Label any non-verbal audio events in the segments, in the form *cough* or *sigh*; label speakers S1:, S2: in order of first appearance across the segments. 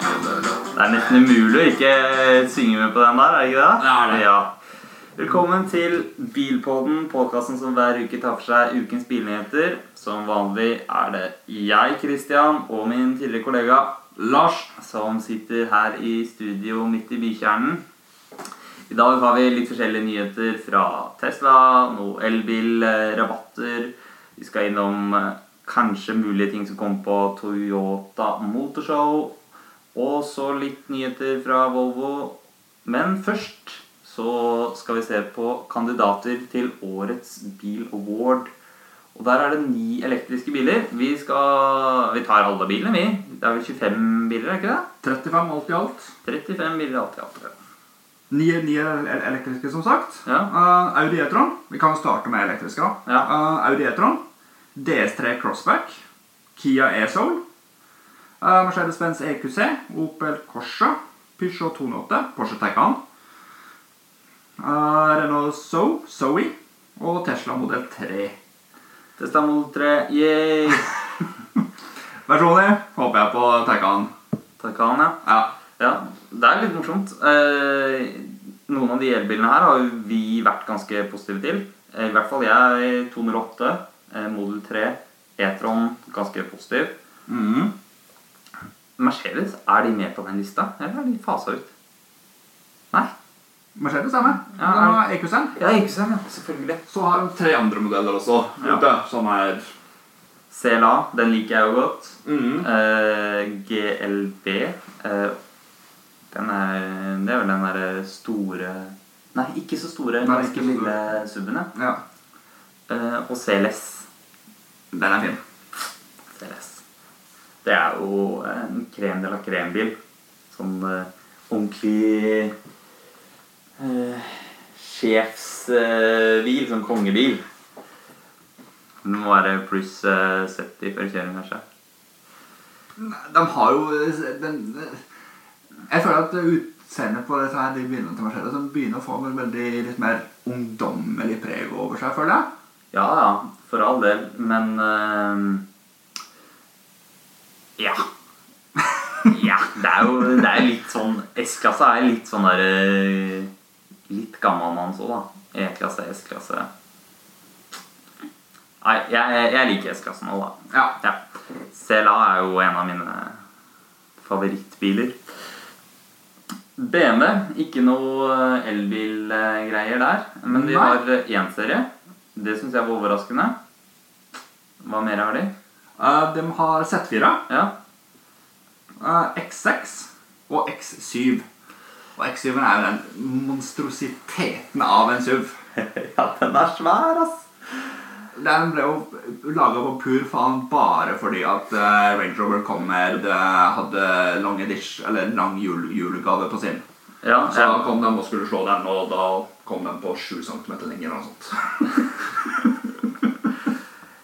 S1: Det er nesten umulig å ikke synge med på den der, er det ikke det?
S2: Det er det.
S1: Ja. Velkommen til Bilpodden, podkasten som hver uke tar for seg ukens bilnyheter. Som vanlig er det jeg, Christian, og min tidligere kollega Lars som sitter her i studio midt i bykjernen. I dag har vi litt forskjellige nyheter fra Tesla, noe elbil, eh, rabatter. Vi skal innom eh, kanskje mulige ting som kommer på Toyota Motorshow. Og så litt nyheter fra Volvo. Men først så skal vi se på kandidater til årets Bil Award. Og der er det ni elektriske biler. Vi, skal, vi tar alle bilene, vi. Det er vel 25 biler, er ikke det?
S2: 35 alt i alt.
S1: 35 biler alt i alt.
S2: Ni, ni el- el- elektriske, som sagt.
S1: Ja.
S2: Eh, Audi E-tron. Vi kan jo starte med elektriske. da.
S1: Ja.
S2: Eh, Audi E-tron. DS3 Crossback. Kia E-Soul. eh, Mercedes-Benz EQC. Opel Corsa. Peugeot 208. Porsche Taycan. eh, Renault Zoe. Zoe. Og Tesla modell 3.
S1: Tesla Model 3, yay!
S2: Personlig håper jeg på Taycan.
S1: Taycan, ja.
S2: Ja.
S1: ja. Det er litt morsomt. Eh, noen av de elbilene her har jo vi vært ganske positive til. Eh, I hvert fall jeg. 208, eh, Model 3, E-tron, ganske positiv.
S2: Mhm.
S1: Mercedes, er de med på den lista, eller er de fasa ut? Nei.
S2: Mercedes er med.
S1: Ja,
S2: Den har EQC-en.
S1: Ja, ikke sant, ja. Selvfølgelig.
S2: Så har de tre andre modeller også.
S1: Ja.
S2: Ute, som er
S1: CLA, den liker jeg jo godt.
S2: mm.
S1: Eh, GLB eh, den er, Det er vel den derre store Nei, ikke så store.
S2: Nei,
S1: Ganske
S2: ikke så
S1: lille suben, ja.
S2: Ja.
S1: Eh, og CLS.
S2: Den er fin.
S1: CLS. Det er jo eh, en krem de la krem-bil. Sånn eh, ordentlig eh, sjefsbil. sånn kongebil. Den må være pluss eh, 70 før kjøring, kanskje.
S2: De har jo den, Jeg føler at utseendet på disse her, de bilene til Mercedes de begynner å få en veldig litt mer ungdommelig preg over seg, føler jeg.
S1: Ja, ja, for all del, men ehm, Ja. *laughs* ja, det er jo det er litt sånn S-klasse er litt sånn der eh, Litt gammelmanns òg, da. E-klasse, S-klasse. Nei, jeg, jeg liker S-klassen òg, da.
S2: Ja.
S1: Ja. CLA er jo en av mine favorittbiler. BMW, ikke noe eh, elbilgreier der. Men de
S2: Nei.
S1: har eh, én serie. Det syns jeg var overraskende. Hva mer har de?
S2: Eh, de har Z4,
S1: Ja.
S2: eh, X6 og X7. Og X7-en er jo den monstrositeten av en SUV.
S1: *laughs* ja, den er svær, ass!
S2: Den ble jo laga på pur faen bare fordi at eh, Range Rover Comer hadde lang edition, eller lang jul, julegave på sin.
S1: Ja,
S2: Så
S1: ja.
S2: da kom de og skulle slå den, og da kom den på 7 cm lenger. Og sånt.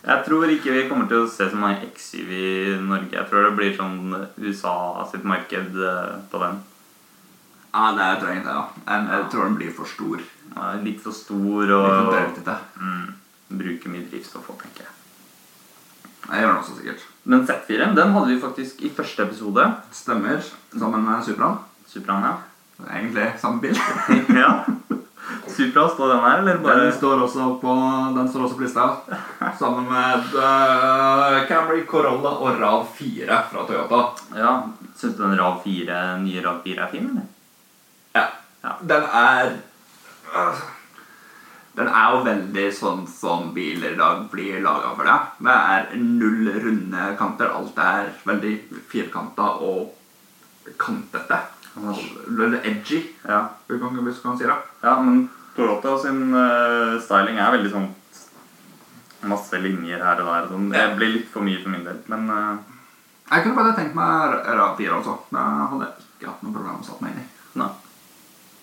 S1: Jeg tror ikke vi kommer til å se så mange X7 i Norge. Jeg tror det blir sånn USA sitt marked eh, på den.
S2: Ja, det er trengt, det, ja. Jeg, jeg tror den blir for stor.
S1: Den er Litt for stor
S2: Litt for
S1: og
S2: drøytete.
S1: mm, bruker mye drivstoff òg, tenker jeg.
S2: Jeg gjør den også sikkert.
S1: Men Z4 den hadde vi faktisk i første episode.
S2: Stemmer. Sammen med Supraen.
S1: Supraen,
S2: Egentlig samme bil.
S1: ja. *laughs* ja. Supra, står den her, eller bare
S2: *laughs* Den står også på, den står også på lista. Sammen med eh, Camry Corolla og Rav 4 fra Toyota.
S1: Ja, Syns du den RAV4, nye RAV4 er fin, eller?
S2: Ja.
S1: Ja.
S2: Den er øh, Den er jo veldig sånn som biler i dag blir laga for deg. Det er null runde kanter. Alt er veldig firkanta og kantete. Eller edgy,
S1: Ja,
S2: hvis man hvis man kan si det.
S1: ja men Toyota sin eh, styling er veldig sånn Masse linjer her og der og sånn. Det blir litt for mye for min del, men eh,
S2: Jeg kunne bare tenkt meg RAV4 også. Det hadde jeg ikke hatt noe problem med å satt meg inn i.
S1: nei.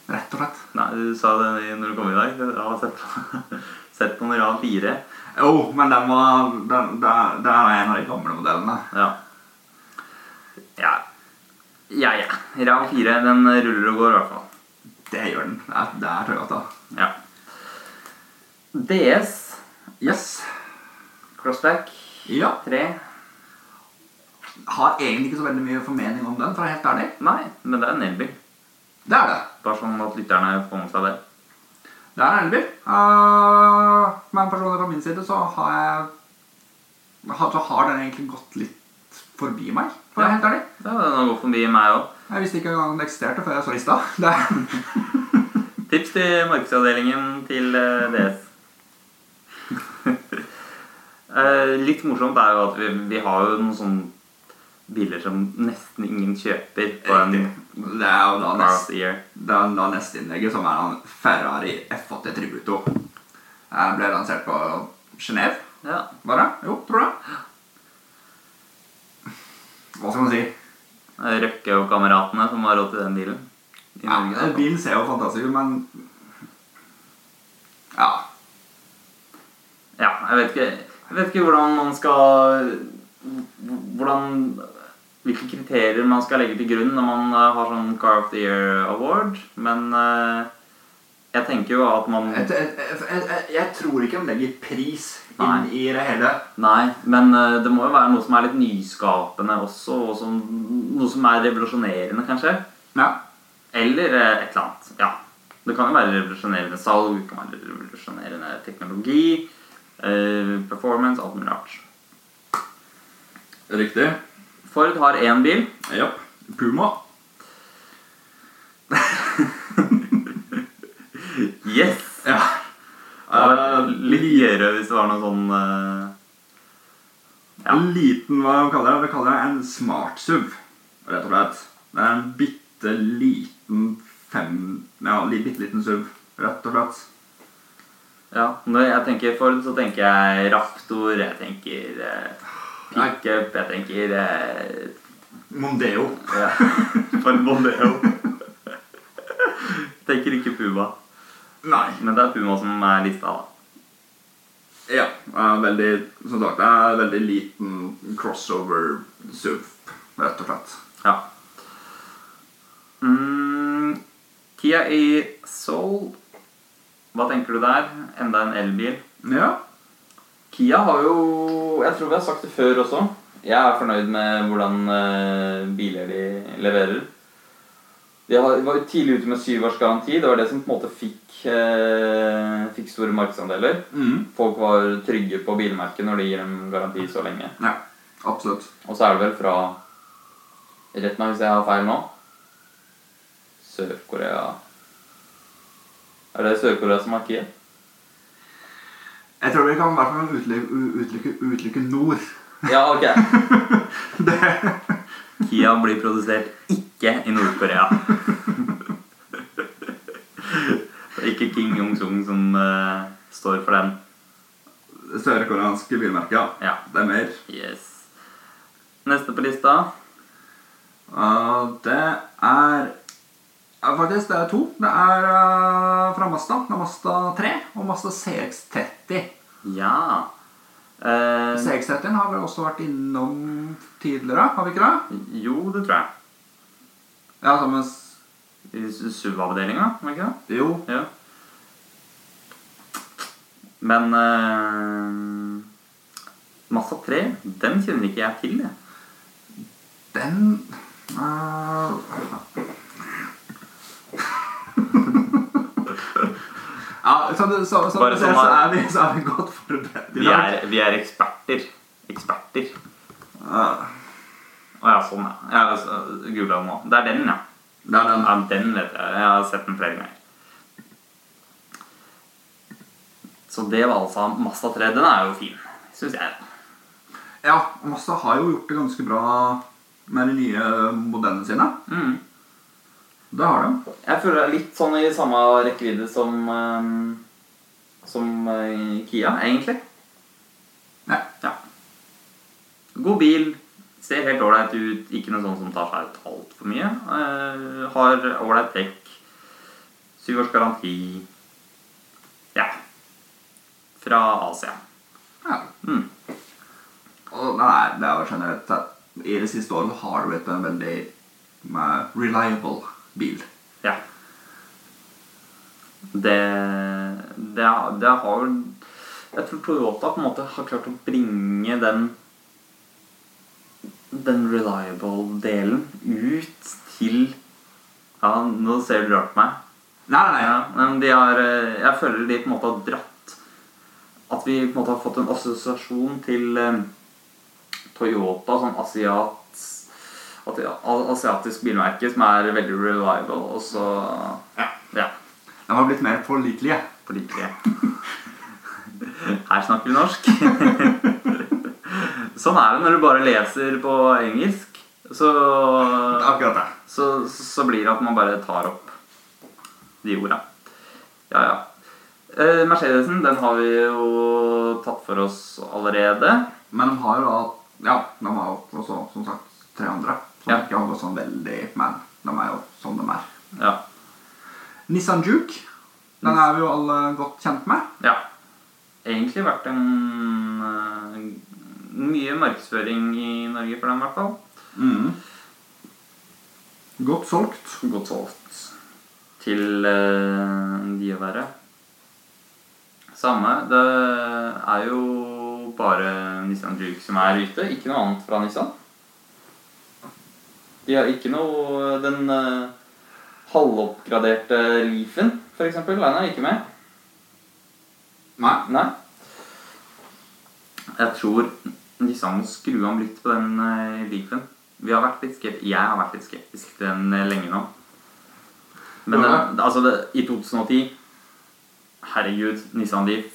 S2: Rett og slett.
S1: nei. Du sa det i- når du kom i dag. Jeg har sett på, *laughs* sett på en RAV4.
S2: Jo, men den var den, det er- det er en av de gamle modellene.
S1: Ja. Ja, ja. ja. RAV4 den ruller og går, i hvert fall.
S2: Det gjør den. Det er, det er Toyota.
S1: Ja. DS,
S2: Yes.
S1: crossback,
S2: Ja.
S1: 3.
S2: har egentlig ikke så veldig mye formening om den, for å være helt ærlig.
S1: Nei, men det er en elbil.
S2: Det er det.
S1: Bare sånn at lytterne får med seg det.
S2: Det er en elbil. Eh, men personlig fra min side så har jeg har- Så har den egentlig gått litt forbi meg, for å være
S1: Ja.
S2: helt ærlig.
S1: Ja, den har gått forbi meg òg.
S2: Jeg visste ikke engang den eksisterte før jeg så lista. *laughs* Det er
S1: Tips til markedsavdelingen til eh, DS. *laughs* Eh, Litt morsomt er jo at vi, vi har jo noen sånne biler som nesten ingen kjøper på en
S2: Det er jo da
S1: class
S2: neste,
S1: year.
S2: det er da neste innlegget, som er han Ferrari F80 Tributo. Eh, Ble lansert på Genève,
S1: Ja.
S2: var det? Jo, tror jeg. Hva skal man si?
S1: Røkke og kameratene som har råd til den bilen. I
S2: Ja,
S1: Norge, da.
S2: bilen ser jo fantastisk ut, men Ja.
S1: Ja, jeg vet ikke, jeg vet ikke hvordan man skal hvordan, Hvilke kriterier man skal legge til grunn når man eh, har sånn Car of the Year Award, men eh, jeg tenker jo at man
S2: Et, et, et, et, et, jeg tror ikke de legger pris inn
S1: Nei.
S2: i det hele.
S1: Nei, men eh, det må jo være noe som er litt nyskapende også, og som, noe som er revolusjonerende, kanskje.
S2: Ja.
S1: Eller eh, et eller annet. Ja. Det kan jo være revolusjonerende salg, det kan være revolusjonerende teknologi, eh, performance, alt mulig rart.
S2: Riktig.
S1: Ford har én bil.
S2: Ja. Puma.
S1: Yes!
S2: Ja.
S1: Det hadde vært litt gøyere eh, hvis det var noe sånn eh, Ja.
S2: En liten, hva kaller jeg det? Vi kaller det en smart SUV, rett og slett. Det er en bitte liten fem... Ja, li- bitte liten SUV, rett og slett.
S1: ja. Når jeg tenker Ford, så tenker jeg Raptor, jeg tenker eh, pickup, jeg tenker eh,
S2: Mondeo.
S1: ja. *laughs* Ford Mondeo. *laughs* tenker ikke Puma.
S2: Nei.
S1: Men det er Puma som er lista, da.
S2: Ja. er Veldig, som sagt, det er en veldig liten crossover SUV, rett og slett.
S1: Ja. Mm, Kia i Seoul. Hva tenker du der? Enda en elbil.
S2: Ja.
S1: Kia har jo Jeg tror vi har sagt det før også. Jeg er fornøyd med hvordan eh, biler de leverer. De har- de var jo tidlig ute med syvårsgaranti. Det var det som på en måte fikk, eh, fikk store markedsandeler.
S2: Mm.
S1: Folk var trygge på bilmerket når de gir dem garanti så lenge.
S2: Ja, absolutt.
S1: Og så er det vel fra Rett meg hvis jeg har feil nå Sør-Korea Er det Sør-Korea som har Kia?
S2: Jeg tror vi kan i hvert fall utelukke, utelukke, utelukke nord. *laughs*
S1: Ja, ok.
S2: Det.
S1: Kia blir produsert ikke i Nord-Korea. Det er ikke King Jong-sung som eh, står for den.
S2: Sørkoreanske bilmerket, ja.
S1: Ja.
S2: Det er mer.
S1: Yes. Neste på lista
S2: Uh, det er ja, Faktisk, det er to. Det er uh, fra Mazda. Det er Mazda 3 og Mazda CX30.
S1: Ja. Eh,
S2: CX30 har vi også vært innom tidligere, har vi ikke det?
S1: Eh, jo, det tror jeg.
S2: Ja, sammen med
S1: I s- SUV-avdelinga, var det ikke det?
S2: Jo.
S1: Ja. Men eh, Massa 3, den kjenner ikke jeg til, jeg.
S2: Den uh, *laughs* Ja, som du så, som
S1: Bare
S2: du ser,
S1: sånn
S2: så er
S1: at-
S2: vi, så er vi godt forberedt i
S1: Vi
S2: dag.
S1: er, vi er eksperter. Eksperter.
S2: Uh,
S1: Å ja, sånn, ja. Jeg har også googlet den nå. Det er den, ja.
S2: det er den.
S1: ja. Den vet jeg. Jeg har sett den flere ganger. Så det var altså Mazda 3. Den er jo fin, syns jeg.
S2: Ja, Mazda har jo gjort det ganske bra med de nye modellene sine.
S1: Mm.
S2: Det har de.
S1: Jeg føler det er litt sånn i samme rekkevidde som ehm, som eh, Kia, egentlig.
S2: Ja.
S1: Ja. God bil. Ser helt ålreit ut. Ikke noe sånn som tar seg ut altfor mye. Eh, har ålreit dekk. Syv års garanti. Ja. Fra Asia.
S2: ja.
S1: Mm.
S2: Og nei, det er jo generelt sett I det siste året så har det blitt en veldig eh, reliable bil.
S1: Ja. Det, det, har- det har vel Jeg tror Toyota på en måte har klart å bringe den den reliable-delen ut til Ja, nå ser du rart på meg.
S2: Nei, nei, nei.
S1: Ja, men de har eh, Jeg føler de på en måte har dratt At vi på en måte har fått en assosiasjon til eh, Toyota, sånn asiat, at- a- asiatisk bilmerke som er veldig reliable, og så
S2: Ja.
S1: Ja.
S2: De har blitt mer pålitelige.
S1: Pålitelige. Her snakker vi norsk. sånn er det når du bare leser på engelsk. Så,
S2: Akkurat det.
S1: så, så blir det at man bare tar opp de orda. Ja, ja. Eh, Mercedesen den har vi jo tatt for oss allerede.
S2: Men de har jo da Ja, de har jo også, som sagt, tre andre. Som
S1: Ja.
S2: ikke har gått sånn veldig Men de er jo som de er.
S1: Ja.
S2: Nissan Juke. Den er vi jo alle godt kjent med.
S1: ja. Egentlig vært en eh, mye markedsføring i Norge for den, i hvert fall.
S2: Mm. Godt solgt.
S1: godt solgt til eh, de å være. Samme. Det er jo bare Nissan Juke som er ute, ikke noe annet fra Nissan. De har ikke noe Den eh, halvoppgraderte Leafen, f.eks., den er ikke med.
S2: Nei.
S1: Nei. Jeg tror Nissan må skru om litt på den uh, Leafen. Vi har vært litt skeptisk. Jeg har vært litt skeptisk til den eh, lenge nå. Men
S2: Ja.
S1: den- altså, det, i 2010 Herregud, Nissan Leaf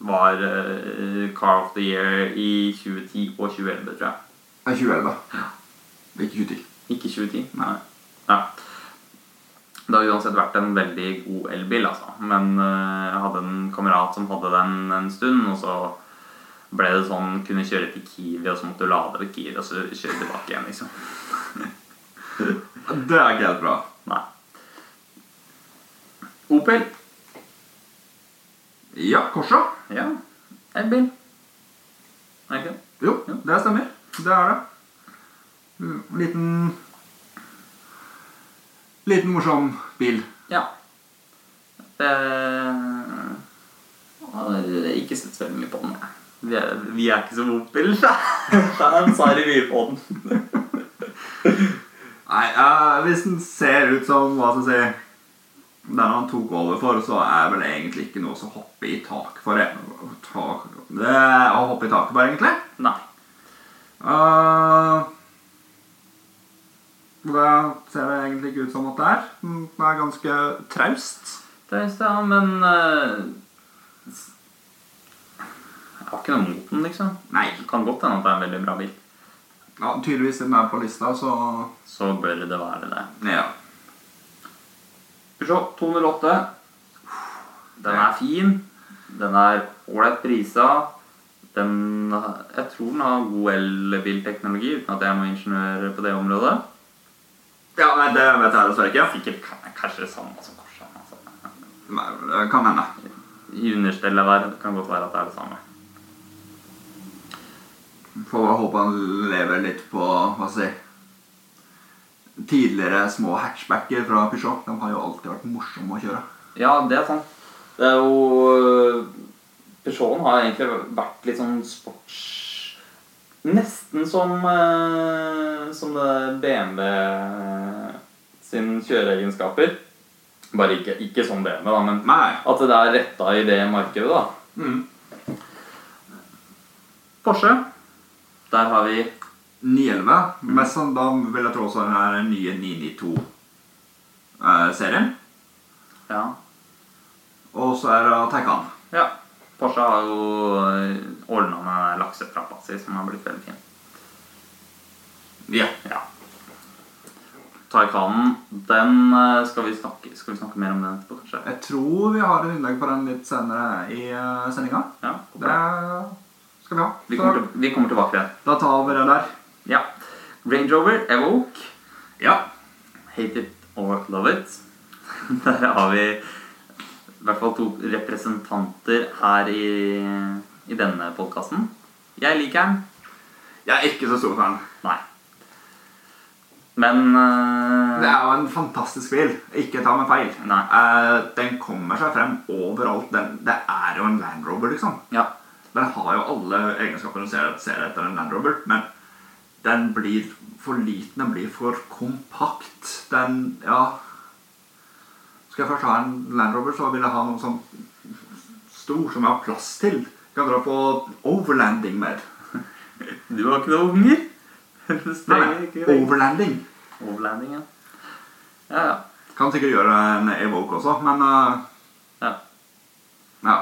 S1: var eh, car of the year i 2010 og 2011, tror jeg.
S2: Det er 2011. Ikke 2010.
S1: Ikke 2010, nei. Ja. Det har uansett vært en veldig god elbil, altså. Men eh, jeg hadde en kamerat som hadde den en stund, og så ble det sånn Kunne kjøre til Kiwi, og så måtte du lade ved Kiwi, og så kjøre tilbake igjen, liksom.
S2: Det er ikke helt bra.
S1: Nei. Opel.
S2: Ja, Corsa.
S1: Ja. Elbil. Er det ikke det?
S2: Jo, det stemmer. Det er det. Mm, Liten Liten morsom bil.
S1: Ja. Det Jeg har ikke sett så veldig mye på den. jeg. Vi er, vi er ikke som Opel. *laughs* Fans har mye på den.
S2: Nei, eh, hvis den ser ut som hva skal jeg si Den han tok over for, så er vel egentlig ikke noe som hopper i tak for eh, tak, det, er Å hoppe i taket på, egentlig.
S1: *laughs* Nei.
S2: Eh, det ser vel egentlig ikke ut som at det er. Mm, Det er ganske traust.
S1: Det visste jeg, men eh, Jeg har ikke noe mot den, liksom.
S2: Nei.
S1: Det kan godt hende at det er en veldig bra bil.
S2: Ja, tydeligvis siden den er på lista, så
S1: Så bør det være det.
S2: Ja.
S1: Peugeot 208. Den er fin. Den er ålreit prisa. Den, jeg tror den har god elbilteknologi, uten at jeg er noen ingeniør på det området.
S2: ja nei, det vet jeg dessverre ikke.
S1: Sikkert kan jeg kanskje det samme som Corsaen. Altså.
S2: Nei, det kan hende.
S1: I understellet der det kan godt være at det er det samme.
S2: Får bare håpe han lever litt på hva skal jeg si Tidligere små hatchbacker fra Peugeot. De har jo alltid vært morsomme å kjøre.
S1: Ja, det er sant. Det er jo eh, Peugeoten har egentlig vært litt sånn sports Nesten som, eh, som det BMW eh, sin kjøreegenskaper. Bare ikke, ikke som BMW, da, men
S2: Nei.
S1: at det er retta i det markedet, da.
S2: Mm.
S1: Porsche. Der har vi
S2: 911. Mest sånn, da vil jeg tro også den her nye 992-serien.
S1: Ja.
S2: Og så er det Taycan.
S1: ja. Porsche har jo ordna med laksetrappa si, som har blitt veldig fin.
S2: Ja.
S1: Ja. Taycanen, den eh, skal vi snakke Skal vi snakke mer om den etterpå, kanskje?
S2: Jeg tror vi har et innlegg på den litt senere i eh, sendinga.
S1: Ja,
S2: Det skal vi ha. Så
S1: vi, kommer til, vi kommer tilbake til den.
S2: da tar vi det der.
S1: Ja. Range Rover, Evoke,
S2: Ja.
S1: Hate It or Love It. *laughs* Der har vi i hvert fall to representanter her i, i denne podkasten. Jeg liker den.
S2: Jeg er ikke så stor fan.
S1: Nei. Men eh,
S2: Det er jo en fantastisk bil. Ikke ta meg feil.
S1: Nei.
S2: Eh, den kommer seg frem overalt. Den, det er jo en Land Rover, liksom.
S1: Ja.
S2: Den har jo alle egenskaper du ser, ser etter en Land Rover, men den blir for liten, den blir for kompakt. Den Ja. Skal jeg først ha en Land Rover, så vil jeg ha noe sånn stor som jeg har plass til. Jeg kan dra på overlanding med.
S1: Du har ikke noen unger? *laughs* Du
S2: Nei,
S1: strenger ikke
S2: nei, overlanding.
S1: Overlanding, ja. Ja, ja.
S2: Kan sikkert gjøre en Evoke også, men eh,
S1: Ja.
S2: ja.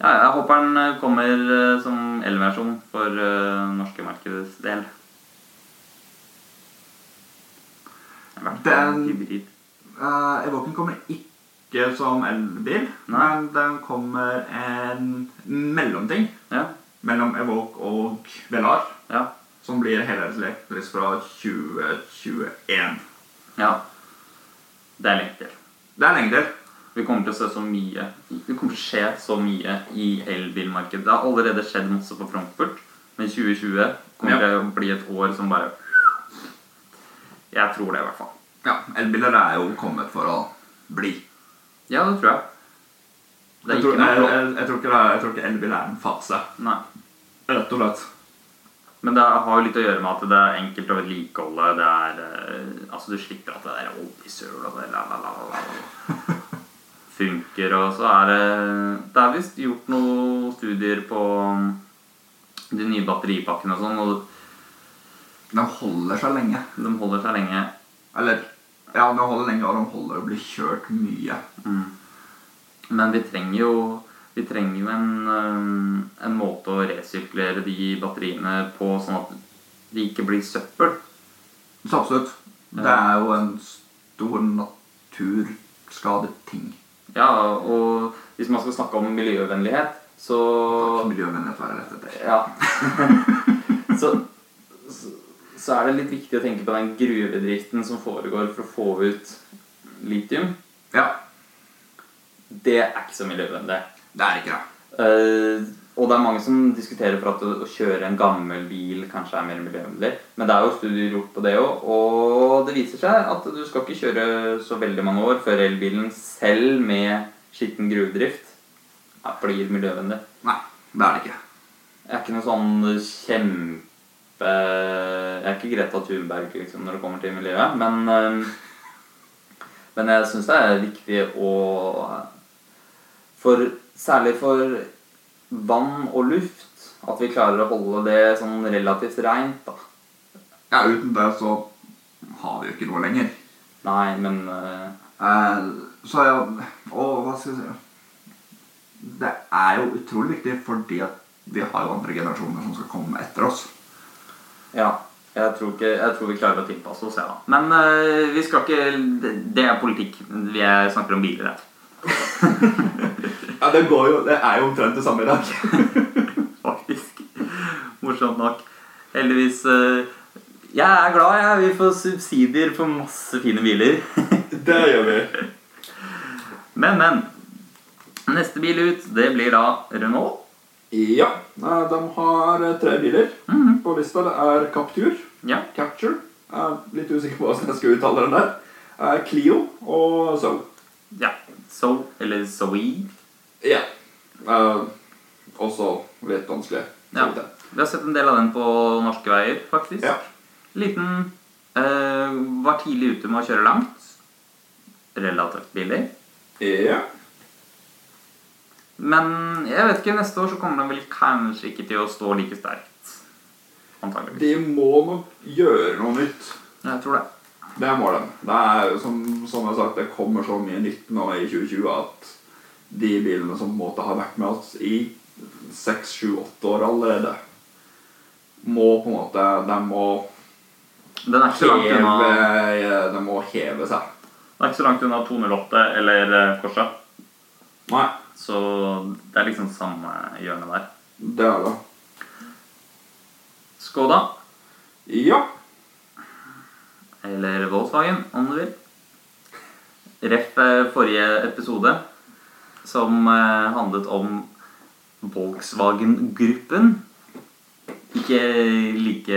S1: ja jeg håper den eh, kommer eh, som elversjon for eh, norske markedets del. I hvert fall
S2: Den-
S1: hybrid.
S2: Eh, Evoken kommer ikke som elbil,
S1: Nei.
S2: men den kommer en mellomting
S1: Ja,
S2: mellom Evoke og Velar,
S1: ja,
S2: som blir helelektrisk fra 2021.
S1: ja. Det er lenge til.
S2: Det er lenge til.
S1: Vi kommer til å se så mye Det kommer til å skje så mye i elbilmarkedet. Det har allerede skjedd masse på Frankfurt, men 2020 kommer
S2: Ja.
S1: til å bli et år som bare Jeg tror det, i hvert fall.
S2: Ja, elbiler er jo kommet for å bli.
S1: Ja, det tror jeg. Det
S2: Jeg
S1: er
S2: tror,
S1: ikke
S2: jeg,
S1: noe flott.
S2: jeg, jeg, tror ikke det er, jeg tror ikke elbil er en fase.
S1: Nei.
S2: Rett og slett.
S1: Men det har jo litt å gjøre med at det er enkelt å vedlikeholde. Det er eh, Altså, du slipper at det der oljesøl og det la, la, la, la, la. funker, og så er det Det er visst gjort noen studier på um, de nye batteripakkene og sånn, og
S2: De holder seg lenge.
S1: de holder seg lenge.
S2: Eller Ja, de holder lenge, og de holder å bli kjørt mye.
S1: Men vi trenger jo Vi trenger jo en, eh, en måte å resirkulere de batteriene på, sånn at de ikke blir søppel.
S2: Så absolutt. Det er jo en stor naturskadeting.
S1: Ja, og hvis man skal snakke om miljøvennlighet, så
S2: Miljøvennlighet være rett etter.
S1: Ja. *laughs* så, så, så er det litt viktig å tenke på den gruvedriften som foregår for å få ut litium.
S2: Ja,
S1: Det er ikke så miljøvennlig.
S2: det er ikke det.
S1: Eh, og det er mange som diskuterer for at å, å kjøre en gammel bil kanskje er mer miljøvennlig. Men det er jo studier gjort på det òg, og det viser seg at du skal ikke kjøre så veldig mange år før elbilen selv med skitten gruvedrift er- blir miljøvennlig.
S2: Nei, det er det ikke.
S1: Jeg er ikke noe sånn kjempe Jeg er ikke Greta Thunberg liksom, når det kommer til miljøet, men øhm, Men jeg syns det er viktig å For særlig for vann og luft at vi klarer å holde det sånn relativt reint, da.
S2: Ja, uten det så har vi jo ikke noe lenger.
S1: Nei, men øh,
S2: Eh, så ja Og hva skal jeg si Det er jo utrolig viktig fordi at vi har jo andre generasjoner som skal komme etter oss.
S1: Ja. Jeg tror, ikke, jeg tror vi klarer å tilpasse oss, jeg, da. Men øh, vi skal ikke det- Det er politikk. Vi er, snakker om biler her.
S2: Ja, Det går jo, det er jo omtrent det samme i dag. *laughs*
S1: faktisk. Morsomt nok. Heldigvis eh, Jeg er glad, jeg. Vi får subsidier for masse fine biler. *laughs*
S2: Det gjør vi.
S1: Men, men. Neste bil ut, det blir da Renault.
S2: Ja. eh, De har eh, tre biler på lista. Det er Captur,
S1: Ja.
S2: Capture Jeg er litt usikker på hvordan jeg skal uttale den der. eh, Clio og Zoe.
S1: ja. So, eller Zoe.
S2: Ja. Eh, også litt vanskelig.
S1: Ja. Vi har sett en del av den på norske veier, faktisk.
S2: Ja.
S1: Liten eh, Var tidlig ute med å kjøre langt. Relativt billig.
S2: ja.
S1: Men jeg vet ikke, neste år så kommer den vel kanskje ikke til å stå like sterkt. Antageligvis.
S2: De må nok gjøre noe nytt.
S1: Jeg tror det.
S2: Det må de. Det er jo som, som jeg har sagt, det kommer så mye nytt nå i 2020 at de bilene som på en måte har vært med oss i 6-7-8 år allerede, må på en måte De må
S1: Den er ikke så langt unna,
S2: heve, de må heve seg.
S1: den er ikke så langt unna 208 eller eh, Corsa.
S2: Nei,
S1: Så det er liksom samme hjørne der.
S2: det er det.
S1: Skoda,
S2: Ja.
S1: eller Volkswagen om du vil. Ref eh, forrige episode, som eh, handlet om Volkswagen-gruppen. Ikke like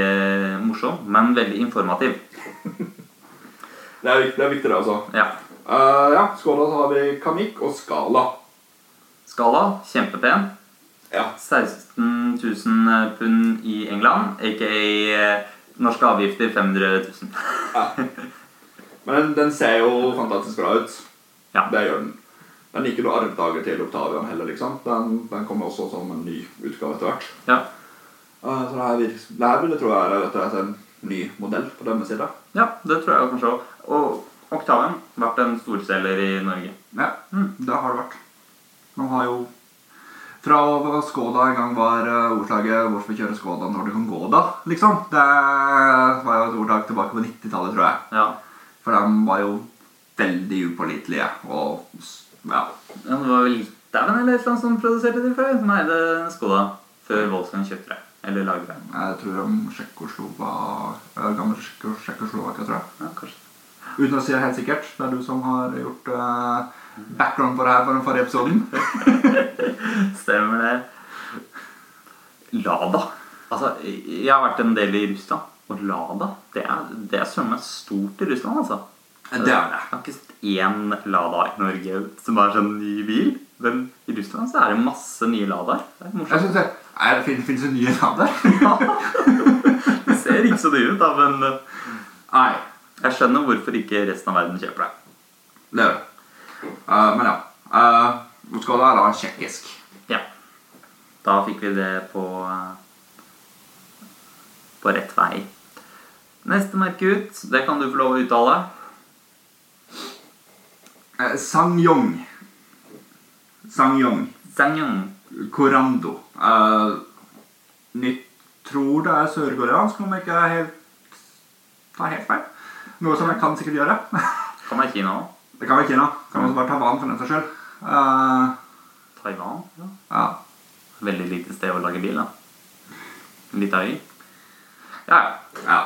S1: morsom, men veldig informativ.
S2: Det er, viktig, det, er viktig det altså.
S1: Ja.
S2: Eh, ja, Skåla så har vi Kamik og Skala.
S1: Skala, kjempepen.
S2: Ja.
S1: 16 000 pund i England, aka eh, norske avgifter 500 000.
S2: Men den ser jo fantastisk bra ut.
S1: Ja.
S2: Det gjør den. Den er ikke noe arvtaker til Octavian heller, liksom. Den, den kommer også som en ny utgave etter hvert.
S1: Ja.
S2: Eh, Så det her, virker, det her vil jeg tro er rett og slett en ny modell på denne sida.
S1: ja, det tror jeg kanskje òg. Og Octavian vært en storselger i Norge.
S2: Ja, det har det vært. Man har jo Fra å- Skoda en gang var eh, ordtaket 'Hvorfor kjøre Skoda når du kan gå, da?' liksom. Det var jo et ordtak tilbake på 90-tallet, tror jeg.
S1: Ja.
S2: For de var jo veldig upålitelige og s- ja.
S1: Ja, det var vel Litauen eller et eller annet som produserte de før, som eide Skoda før Volkswagen kjøpte det. Eller lagra den.
S2: Jeg tror de Tsjekkoslovakia Tsjekkoslovakia, tror jeg.
S1: Ja, kanskje.
S2: Uten å si det helt sikkert. Det er du som har gjort eh, background på det her for den forrige episoden.
S1: Stemmer det. Lada. Altså, jeg har vært en del i Russland, og Lada Det er, det er sømmet stort i Russland, altså.
S2: Det er det.
S1: Jeg har ikke sett én Lada i Norge som er sånn ny bil. Men i Russland så er det masse nye Ladaer. Det er
S2: Jeg
S1: morsomt. *laughs*
S2: synes det, er, fin- Finnes det nye navn der? *laughs*
S1: Det ser ikke så dyrt ut, da, men eh,
S2: Nei.
S1: jeg skjønner hvorfor ikke resten av verden kjøper det.
S2: Det gjør det. Eh, men ja. Uh, Skoda er da tsjekkisk.
S1: Ja. Da fikk vi det på eh, på rett vei. Neste merke ut, det kan du få lov å uttale.
S2: Uh, Sangyong. Sangyong.
S1: Sangyong.
S2: Korando. Eh, nytt tror det er sørkoreansk, om jeg ikke er helt tar helt feil. Noe som jeg kan sikkert gjøre. *laughs*
S1: Kan være Kina òg.
S2: det kan være Kina. Kan også være Taiwan for den saks skyld. Eh,
S1: Taiwan. Ja.
S2: ja.
S1: Veldig lite sted å lage bil, da. Litt øy. Ja, ja.
S2: ja.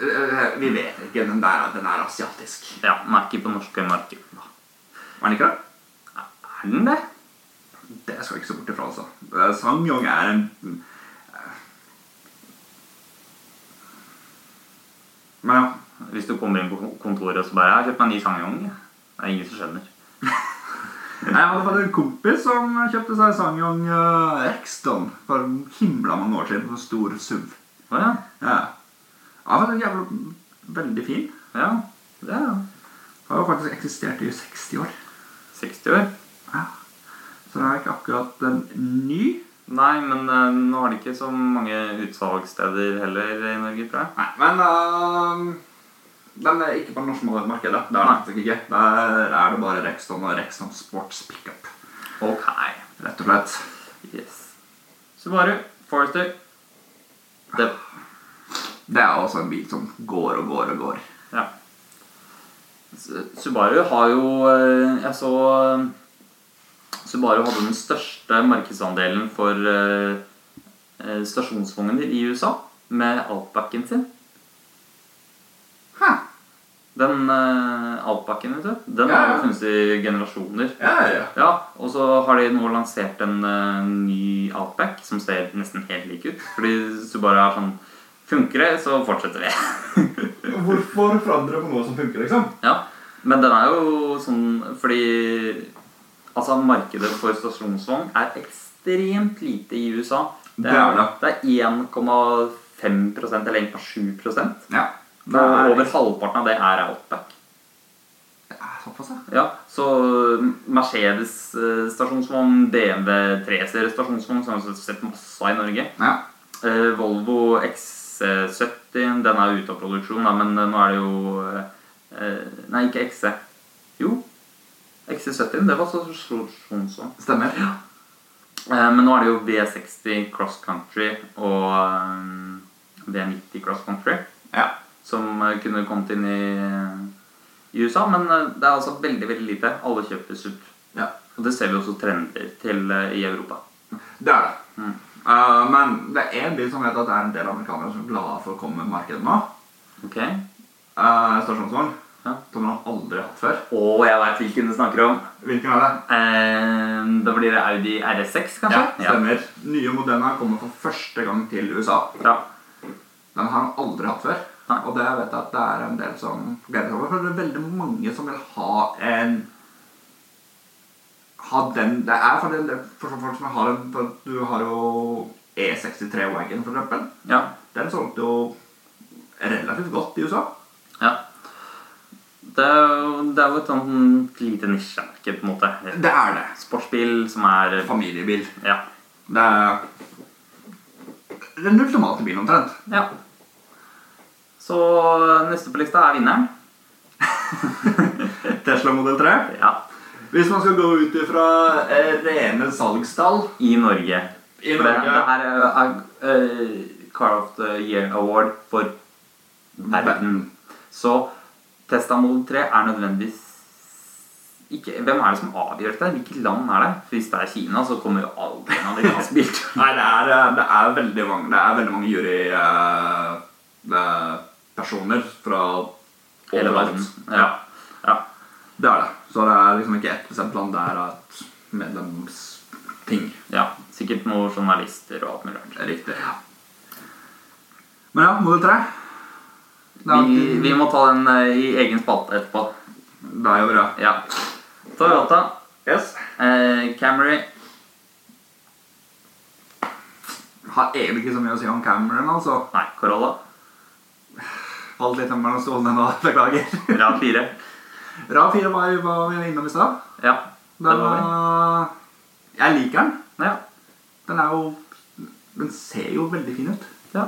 S2: Eh, vi vet ikke. Den der den er asiatisk.
S1: ja. Den er ikke på norske marked. da.
S2: Er den ikke det?
S1: Er den det?
S2: Det skal jeg ikke se bort ifra, altså. Eh, Sangyong er en eh, Men ja.
S1: Hvis du kommer inn på kon- kontoret og så bare 'Jeg har kjøpt meg en ny Sangyong'. jeg». Det er ingen som skjønner.
S2: Jeg hadde faktisk en kompis som kjøpte seg Sangyong eh, Rexton for himla mange år siden. på En stor SUV.
S1: Å ja.
S2: Ja. Han var en jævla mm, veldig fin.
S1: Ja. Det er jo
S2: Han har faktisk eksistert i 60 år.
S1: 60 år.
S2: Ja. Så det er ikke akkurat en ny.
S1: Nei, men eh, nå har de ikke så mange utsalgssteder heller i Norge, tror jeg.
S2: Nei, men eh, den er ikke på det norske markedet. Det er den faktisk ikke. Der er det bare Rexton og Rexton Sports Pickup.
S1: Ok.
S2: Rett og slett.
S1: Yes. Subaru, Forester. Det,
S2: Det er også en bil som går og går og går.
S1: ja. Su- Subaru har jo eh, Jeg så eh, Subaru hadde den største markedsandelen for eh, eh, stasjonsvogner i USA med Outbacken sin.
S2: Hæ?
S1: Den eh, Outbacken, vet du, den
S2: Ja,
S1: har
S2: ja.
S1: jo funnes i generasjoner.
S2: Ja, ja.
S1: Ja, og så har de nå lansert en eh, ny Outback som ser nesten helt lik ut. Fordi Subaru er sånn Funker det, så fortsetter vi. *laughs*
S2: Hvorfor forandre på noe som funker, liksom?
S1: ja, Men den er jo sånn fordi Altså, markedet for stasjonsvogn er ekstremt lite i USA.
S2: Det er det.
S1: Det er 1,5 eller 1,7
S2: Ja.
S1: Og over halvparten av det er Outback.
S2: Det er Såpass, ja.
S1: Ja, så Mercedes eh, stasjonsvogn, BMW 3-serie stasjonsvogn, som vi har sett masse av i Norge.
S2: ja.
S1: Eh, Volvo XC70, den er ute av produksjon, da, men eh, nå er det jo eh, eh, Nei, ikke XC. Jo, XC70, det var stasjonsvogn.
S2: Stemmer.
S1: Eh, men nå er det jo V60 Cross Country og eh, V90 Cross Country
S2: Ja.
S1: som eh, kunne kommet inn i, i USA, men eh, det er altså veldig, veldig lite. Alle kjøper SUV.
S2: ja.
S1: Og det ser vi også trender til eh, i Europa.
S2: Det er det.
S1: Mm.
S2: Eh, men det er en bil som vet at det er en del amerikanere som er glade for å komme på markedet nå.
S1: Ok?
S2: Uh, stasjonsvogn.
S1: Ja.
S2: Som man aldri har hatt før.
S1: Og jeg veit hvilken du snakker om.
S2: Hvilken er det?
S1: Eh, da blir det Audi RS6,
S2: Ja,
S1: kanskje?
S2: stemmer. Nye Modena kommer for første gang til USA.
S1: Ja.
S2: Den har han aldri hatt før.
S1: Nei.
S2: Og det vet jeg at det er en del som gleder seg over. For det er veldig mange som vil ha en Ha den Det er for en del for sånne folk som har en for Du har jo E63 Wagon, for eksempel.
S1: Ja.
S2: Den solgte jo relativt godt i USA.
S1: ja. Det er jo det er jo et sånt lite nisjemarked, på en måte.
S2: Det er det.
S1: Sportsbil som er
S2: Familiebil.
S1: Ja.
S2: Det er den ultimate bilen, omtrent.
S1: ja. Så neste på lista er vinneren.
S2: Tesla Model 3.
S1: Ja.
S2: Hvis man skal gå ut ifra eh, rene salgstall
S1: I Norge.
S2: I
S1: For det-
S2: Norge.
S1: Det her er, er eh, Car of the Year Award for verden. Så Testa Model 3 er nødvendigvis ikke, Hvem er det som avgjør dette? Hvilket land er det? For Hvis det er Kina, så kommer jo aldri en
S2: *laughs*
S1: amerikansk bil. til-
S2: Nei, det er, eh, det er veldig mange Det er veldig mange jurypersoner fra
S1: Hele
S2: overalt.
S1: verden.
S2: Ja.
S1: Ja. ja.
S2: Det er det. Så det er liksom ikke ett bestemt land. Det er et medlemsting.
S1: ja. Sikkert noen journalister og alt mulig rart.
S2: Riktig. Men ja, Model 3. Det er,
S1: Vi,
S2: alltid-
S1: vi må ta den eh, i egen spalte etterpå.
S2: det er jo bra.
S1: Ja. Toyota,
S2: Yes.
S1: eh, Camry
S2: Har egentlig ikke så mye å si om Cameron, altså.
S1: Nei, Corolla.
S2: Falt litt mellom stolene nå, *laughs* beklager.
S1: Rav 4.
S2: Rav 4 var, var vi innom i stad.
S1: Ja. Det
S2: Den
S1: var vi.
S2: var Jeg liker den.
S1: Ja.
S2: Den er jo Den ser jo veldig fin ut.
S1: Ja.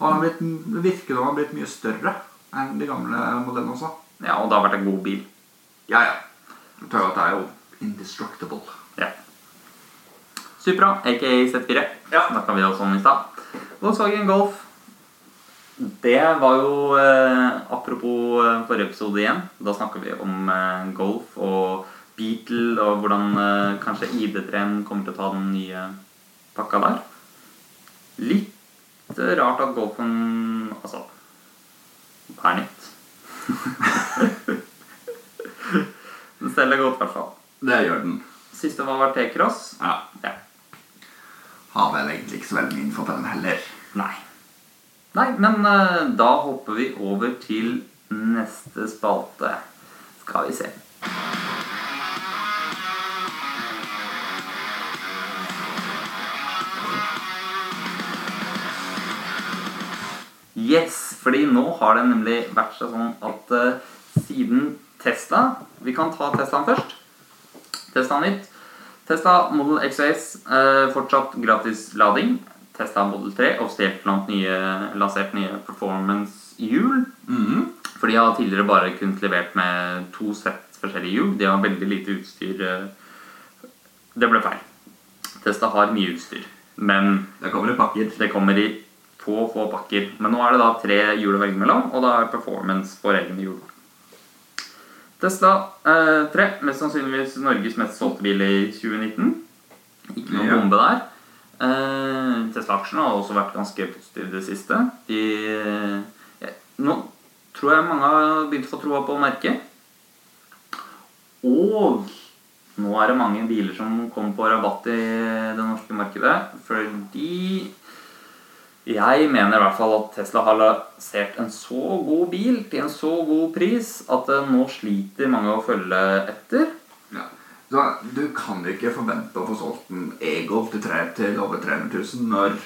S2: Og den har blitt, det virker som den har blitt mye større enn de gamle modellene også.
S1: ja, og det har vært en god bil.
S2: Ja, ja. Toyota er jo indestructible.
S1: Ja. Supra, aka Z4.
S2: Ja.
S1: Snakka vi også om i stad. Volkswagen Golf. Det var jo eh, Apropos eh, forrige episode igjen. Da snakka vi om eh, golf og Beatle og hvordan eh, kanskje ID3-en kommer til å ta den nye pakka der. Litt eh, rart at golfen Altså er nytt. *laughs* den selger godt, i hvert fall.
S2: Det gjør den.
S1: Siste var var T-cross.
S2: Ja.
S1: Ja.
S2: Har vel egentlig ikke så veldig mye info på den heller.
S1: Nei. Nei, men eh, da hopper vi over til neste spalte. Skal vi se. Yes, fordi nå har det nemlig vært seg sånn at eh, siden Tesla Vi kan ta Teslaen først. Tesla nytt. Tesla Model XS, eh, fortsatt gratis lading. Tesla Model 3, offisielt blant nye, lansert nye performance-hjul.
S2: Mhm.
S1: For de har tidligere bare kunnet levert med to sett forskjellige hjul. De har veldig lite utstyr. eh. Det ble feil. Tesla har mye utstyr, men
S2: Det kommer i pakker.
S1: det kommer i få, få pakker. Men nå er det da tre hjul å velge mellom, og da er performance for egne hjul. Tesla eh, 3, mest sannsynligvis Norges mest solgte bil i 2019. Ikke noe
S2: Ja.
S1: bombe der. Eh, Tesla-aksjene har også vært ganske positive i det siste. De, eh, nå tror jeg mange har begynt å få troa på merket. Og nå er det mange biler som kommer på rabatt i det norske markedet. Fordi jeg mener i hvert fall at Tesla har lansert en så god bil til en så god pris at eh, nå sliter mange å følge etter.
S2: Ja. Så du kan ikke forvente å få solgt en E-Golf til, tre, til over 300 000 når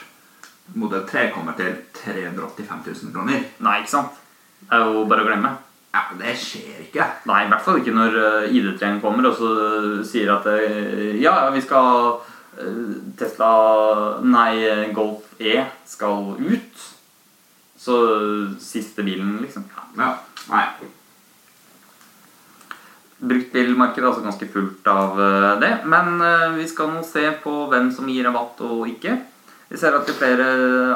S2: modell 3 kommer til 385 000 kroner.
S1: Nei, ikke sant? Det er jo bare å glemme.
S2: Ja, det skjer ikke.
S1: Nei, i hvert fall ikke når eh, ID3-en kommer og så sier at eh, ja, ja, vi skal eh, Tesla Nei, Golf E skal ut. Så eh, siste bilen, liksom. Ja.
S2: Ja. Nei.
S1: Bruktbilmarkedet er altså ganske fullt av eh, det. Men eh, vi skal nå se på hvem som gir rabatt og ikke. Vi ser at flere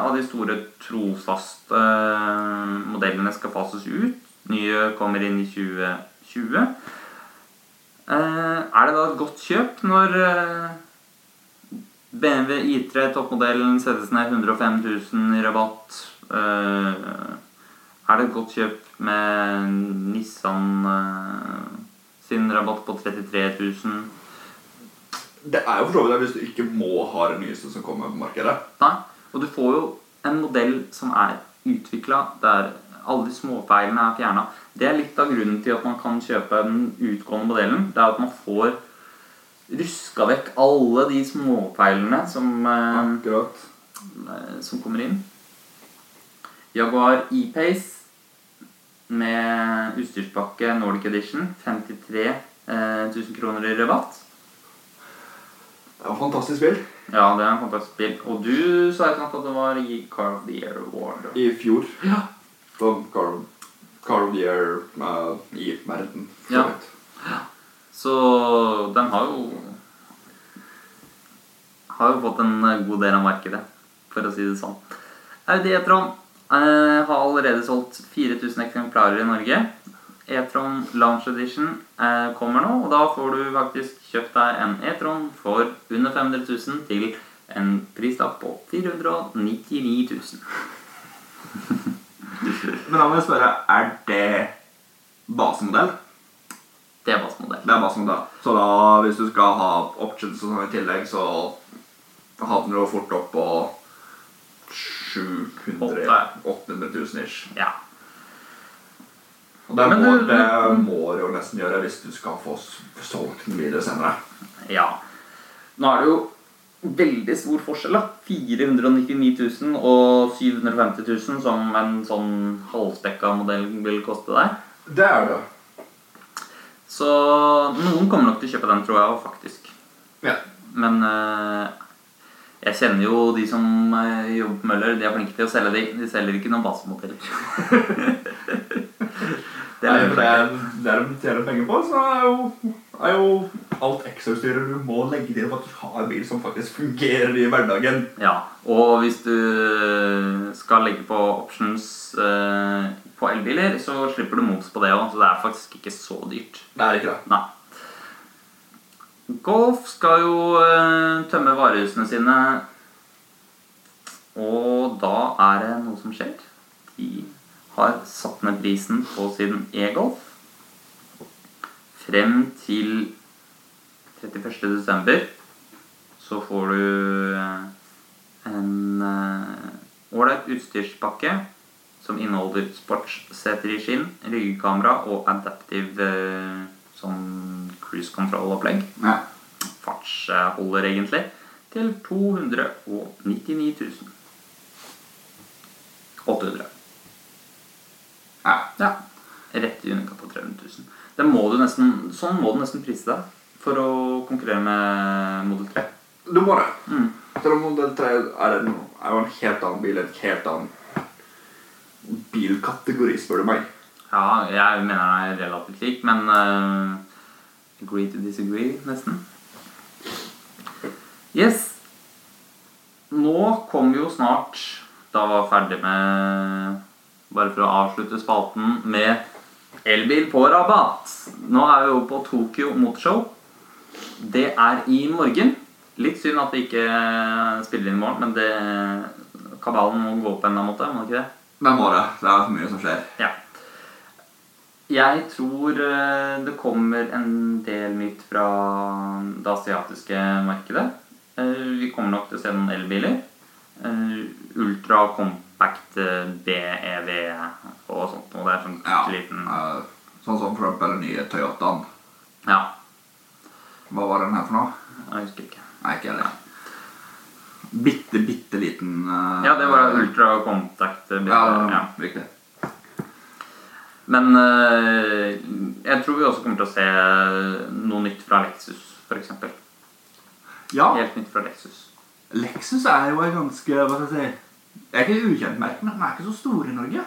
S1: av de store trofaste eh, modellene skal fases ut. Nye kommer inn i 2020. Eh, Er det da et godt kjøp når eh, BMW I3 toppmodellen settes ned 105 000 i rabatt? Eh, Er det et godt kjøp med Nissan eh, sin rabatt på 33 000.
S2: Det er jo for så vidt det hvis du ikke må ha det nyeste som kommer på markedet.
S1: Nei. Og du får jo en modell som er utvikla, der alle de småfeilene er fjerna. Det er litt av grunnen til at man kan kjøpe den utgående modellen. Det er at man får ruska vekk alle de småfeilene som eh,
S2: Akkurat.
S1: eh, som kommer inn. Jaguar E-Pace med utstyrspakke Nordic Edition. 53 eh, 1000 kroner i rabatt.
S2: Det var fantastisk spill.
S1: Ja, det er en fantastisk bil. Og du sa et eller annet at det var i Car of the Year Award.
S2: I fjor.
S1: Ja.
S2: Som Car of, Car of the Year eh, i verden. for
S1: Ja.
S2: så vidt.
S1: Så den har jo Har jo fått en eh, god del av markedet, for å si det sånn. Audi E-tron eh, har allerede solgt 4000 eksemplarer i Norge. E-tron Lounge Edition eh, kommer nå, og da får du faktisk kjøpt deg en E-tron for under 500 000 til en pris da på 499 000.
S2: Men da må jeg spørre, er det basemodell?
S1: Det var smådel.
S2: Det er basemodell. Så da, hvis du skal ha options og sånn i tillegg, så havner du fort opp på 700
S1: Åtte.
S2: 800 000 ish.
S1: Ja.
S2: Og det
S1: Men
S2: må,
S1: du-
S2: det må du jo nesten gjøre hvis du skal få s- solgt den videre senere.
S1: Ja. Nå er det jo veldig stor forskjell, da. 499 000 og 750 000 som en sånn halvspekka modell vil koste deg.
S2: Det er det.
S1: Så noen kommer nok til å kjøpe den, tror jeg, faktisk.
S2: Ja.
S1: Men eh, jeg kjenner jo de som eh, jobber på Møller. De er flinke til å selge de. De selger ikke noen *laughs* basemodeller.
S2: Det er for det det de tjener penger på, så er jo, er jo alt ekstrautstyret du må legge til for at du har en bil som faktisk fungerer i hverdagen.
S1: Ja, og hvis du skal legge på options eh, på elbiler, så slipper du moms på det òg, så det er faktisk ikke så dyrt.
S2: Det er ikke det.
S1: Nei. Golf skal jo eh, tømme varehusene sine, og da er det noe som skjer. De har satt ned prisen på sin e-golf frem til 31. desember. Så får du eh, en eh, ålreit utstyrspakke som inneholder sportsseter i skinn, ryggekamera og adaptive eh, sånn cruise control-opplegg.
S2: Ja.
S1: Fartsholder, egentlig. Til 299 000. 800.
S2: Ja.
S1: Ja. Rett i underkant av 300 000. Det må du nesten, sånn må du nesten prise deg for å konkurrere med Model 3.
S2: Du må det.
S1: Mm.
S2: Selv om Model 3 er, en, er jo en helt annen bil, en helt annen bilkategori, spør du meg.
S1: Ja, jeg mener den er relativt lik, men eh, agree to disagree, nesten. Yes. Nå kommer jo snart Da var jeg ferdig med Bare for å avslutte spalten med elbil på rabatt. Nå er vi jo på Tokyo Motorshow. Det er i morgen. Litt synd at vi ikke spiller inn i morgen, men det kabalen må gå opp på en eller annen måte. må det ikke det?
S2: Det må det. Det er for mye som skjer.
S1: Ja. Jeg tror eh, det kommer en del nytt fra det asiatiske markedet. Eh, Vi kommer nok til å se noen elbiler. Eh, Ultra compact eh, BEV og sånt. Og det er sånn
S2: Ja.
S1: liten
S2: Eh, Sånn som for eksempel den nye Toyotaen.
S1: Ja,
S2: Hva var den her for noe?
S1: jeg husker ikke.
S2: Nei, ikke heller. Bitte, bitte liten eh,
S1: Ja, det var ultra compact eh, BEV.
S2: Ja,
S1: Ja.
S2: riktig.
S1: Men eh, jeg tror vi også kommer til å se noe nytt fra Lexus, f.eks.
S2: Ja,
S1: Helt nytt fra Lexus.
S2: Lexus er jo en ganske hva skal jeg si, Det er ikke et ukjent merke, men den er ikke så stor i Norge.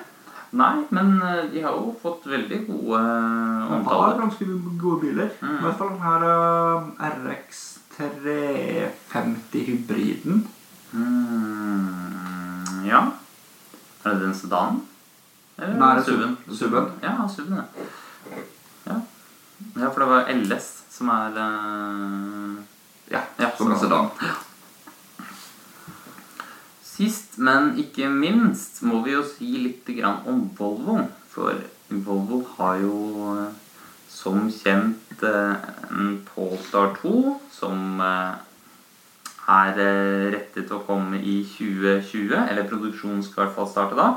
S1: Nei, men eh, de har jo fått veldig gode eh,
S2: Den har
S1: omtaler.
S2: ganske gode biler.
S1: Mm.
S2: I hvert fall den her eh, RX 350-hybriden.
S1: Mm, ja. Er det den sedanen? Eller
S2: Nei, det er
S1: SUV-en?
S2: Sub- Suben.
S1: Ja, Suben, ja. ja. Ja, for det var LS som er eh,
S2: Ja,
S1: Ja,
S2: som en
S1: sedan.
S2: sedan.
S1: Sist, men ikke minst, må vi jo si litt grann om Volvo. For Volvo har jo eh, som kjent eh, en Polestar 2 som eh, er eh, rettet til å komme i 2020. Eller produksjonen skal i hvert fall starte da.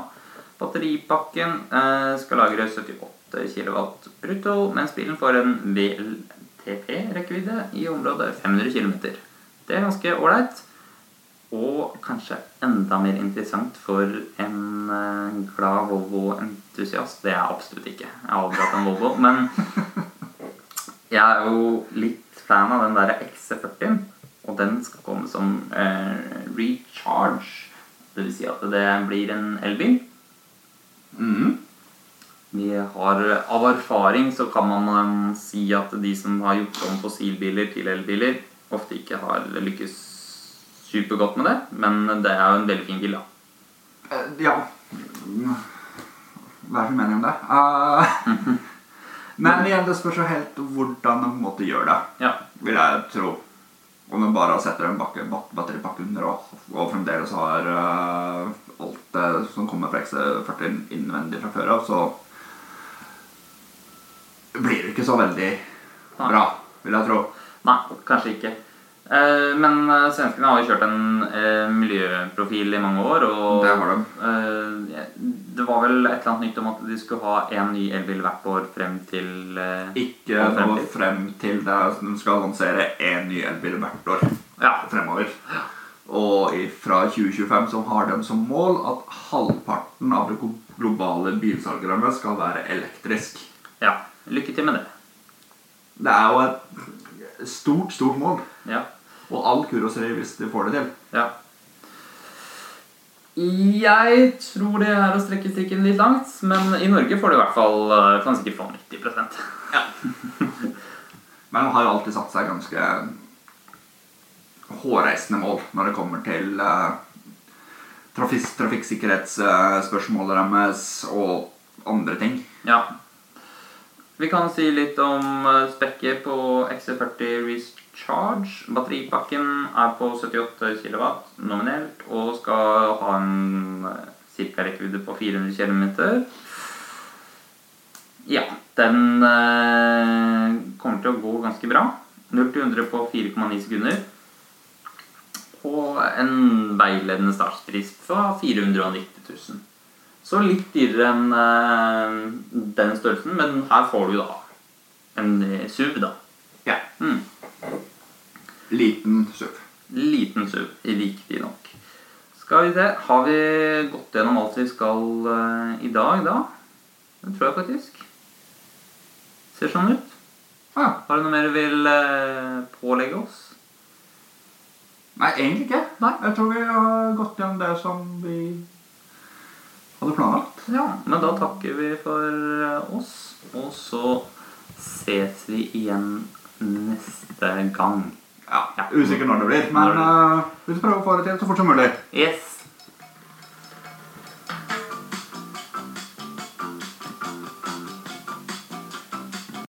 S1: Batteripakken eh, skal lagre 78 kW brutto, mens bilen får en VLTP-rekkevidde i området 500 km. Det er ganske ålreit. Og kanskje enda mer interessant for en eh, glad Volvo-entusiast. Det er jeg absolutt ikke. Jeg har aldri hatt en Volvo. Men jeg er jo litt fan av den der XC40-en. Og den skal komme som eh, recharge. Det vil si at det blir en elbil.
S2: Mhm.
S1: Vi har Av erfaring så kan man eh, si at de som har gjort om fossilbiler til elbiler, ofte ikke har lykkes supergodt med det. Men det er jo en veldig fin bil, da.
S2: Eh, Ja Mm. Hva er det som mener om det?
S1: *laughs*
S2: Eh, *laughs* men igjen, det spørs jo helt hvordan man på en måte gjør det,
S1: Ja.
S2: vil jeg tro. Om man bare setter en bakke, bak, batteripakke under og, og fremdeles har eh, alt det som kommer fra XC40 innvendig fra før av, så blir det ikke så veldig
S1: Nei.
S2: bra, vil jeg tro.
S1: Nei, kanskje ikke. Eh, Men eh, svenskene har jo kjørt en eh, miljøprofil i mange år. Og
S2: Det har de.
S1: eh, det var vel et eller annet nytt om at de skulle ha én ny elbil hvert år frem til eh,
S2: Ikke
S1: Og frem
S2: nå
S1: til.
S2: frem til det er- de skal lansere én ny elbil hvert år
S1: Ja.
S2: fremover. Og i- fra 2025 så har de som mål at halvparten av det glo- globale bilsalgerne skal være elektrisk.
S1: Ja. Lykke til med det.
S2: Det er jo et stort, stort mål.
S1: Ja.
S2: Og all kuros er hvis de får det til.
S1: ja. Jeg tror det er å strekke strikken litt langt, men i Norge får du i hvert fall eh, kan sikkert få 90
S2: Men de har jo alltid satt seg ganske hårreisende mål når det kommer til eh, trafis- trafikksikkerhetsspørsmålet deres og andre ting.
S1: Ja. Vi kan si litt om eh, spekket på XC40 Recharge. Batteripakken er på 78 kW nominelt og skal ha en ca. rekkevidde på 400 km. Ja, den eh, kommer til å gå ganske bra. 0 til 100 på 4,9 sekunder. Og en veiledende startpris fra 490 000. Så litt dyrere enn eh, den størrelsen, men her får du da en eh, SUV, da.
S2: Ja.
S1: Mm.
S2: Liten SUV.
S1: Liten SUV, riktignok. Skal vi se Har vi gått gjennom alt vi skal eh, i dag, da? Det tror jeg faktisk. Ser sånn ut.
S2: Ah,
S1: Har du noe mer du vil eh, pålegge oss?
S2: nei, egentlig ikke. Nei, Jeg tror vi har gått gjennom det som vi hadde planlagt.
S1: Ja, men da takker vi for eh, oss. Og så ses vi igjen neste gang.
S2: Ja, Usikker når det blir, men eh, vi skal prøve å få det til så fort som mulig.
S1: Yes!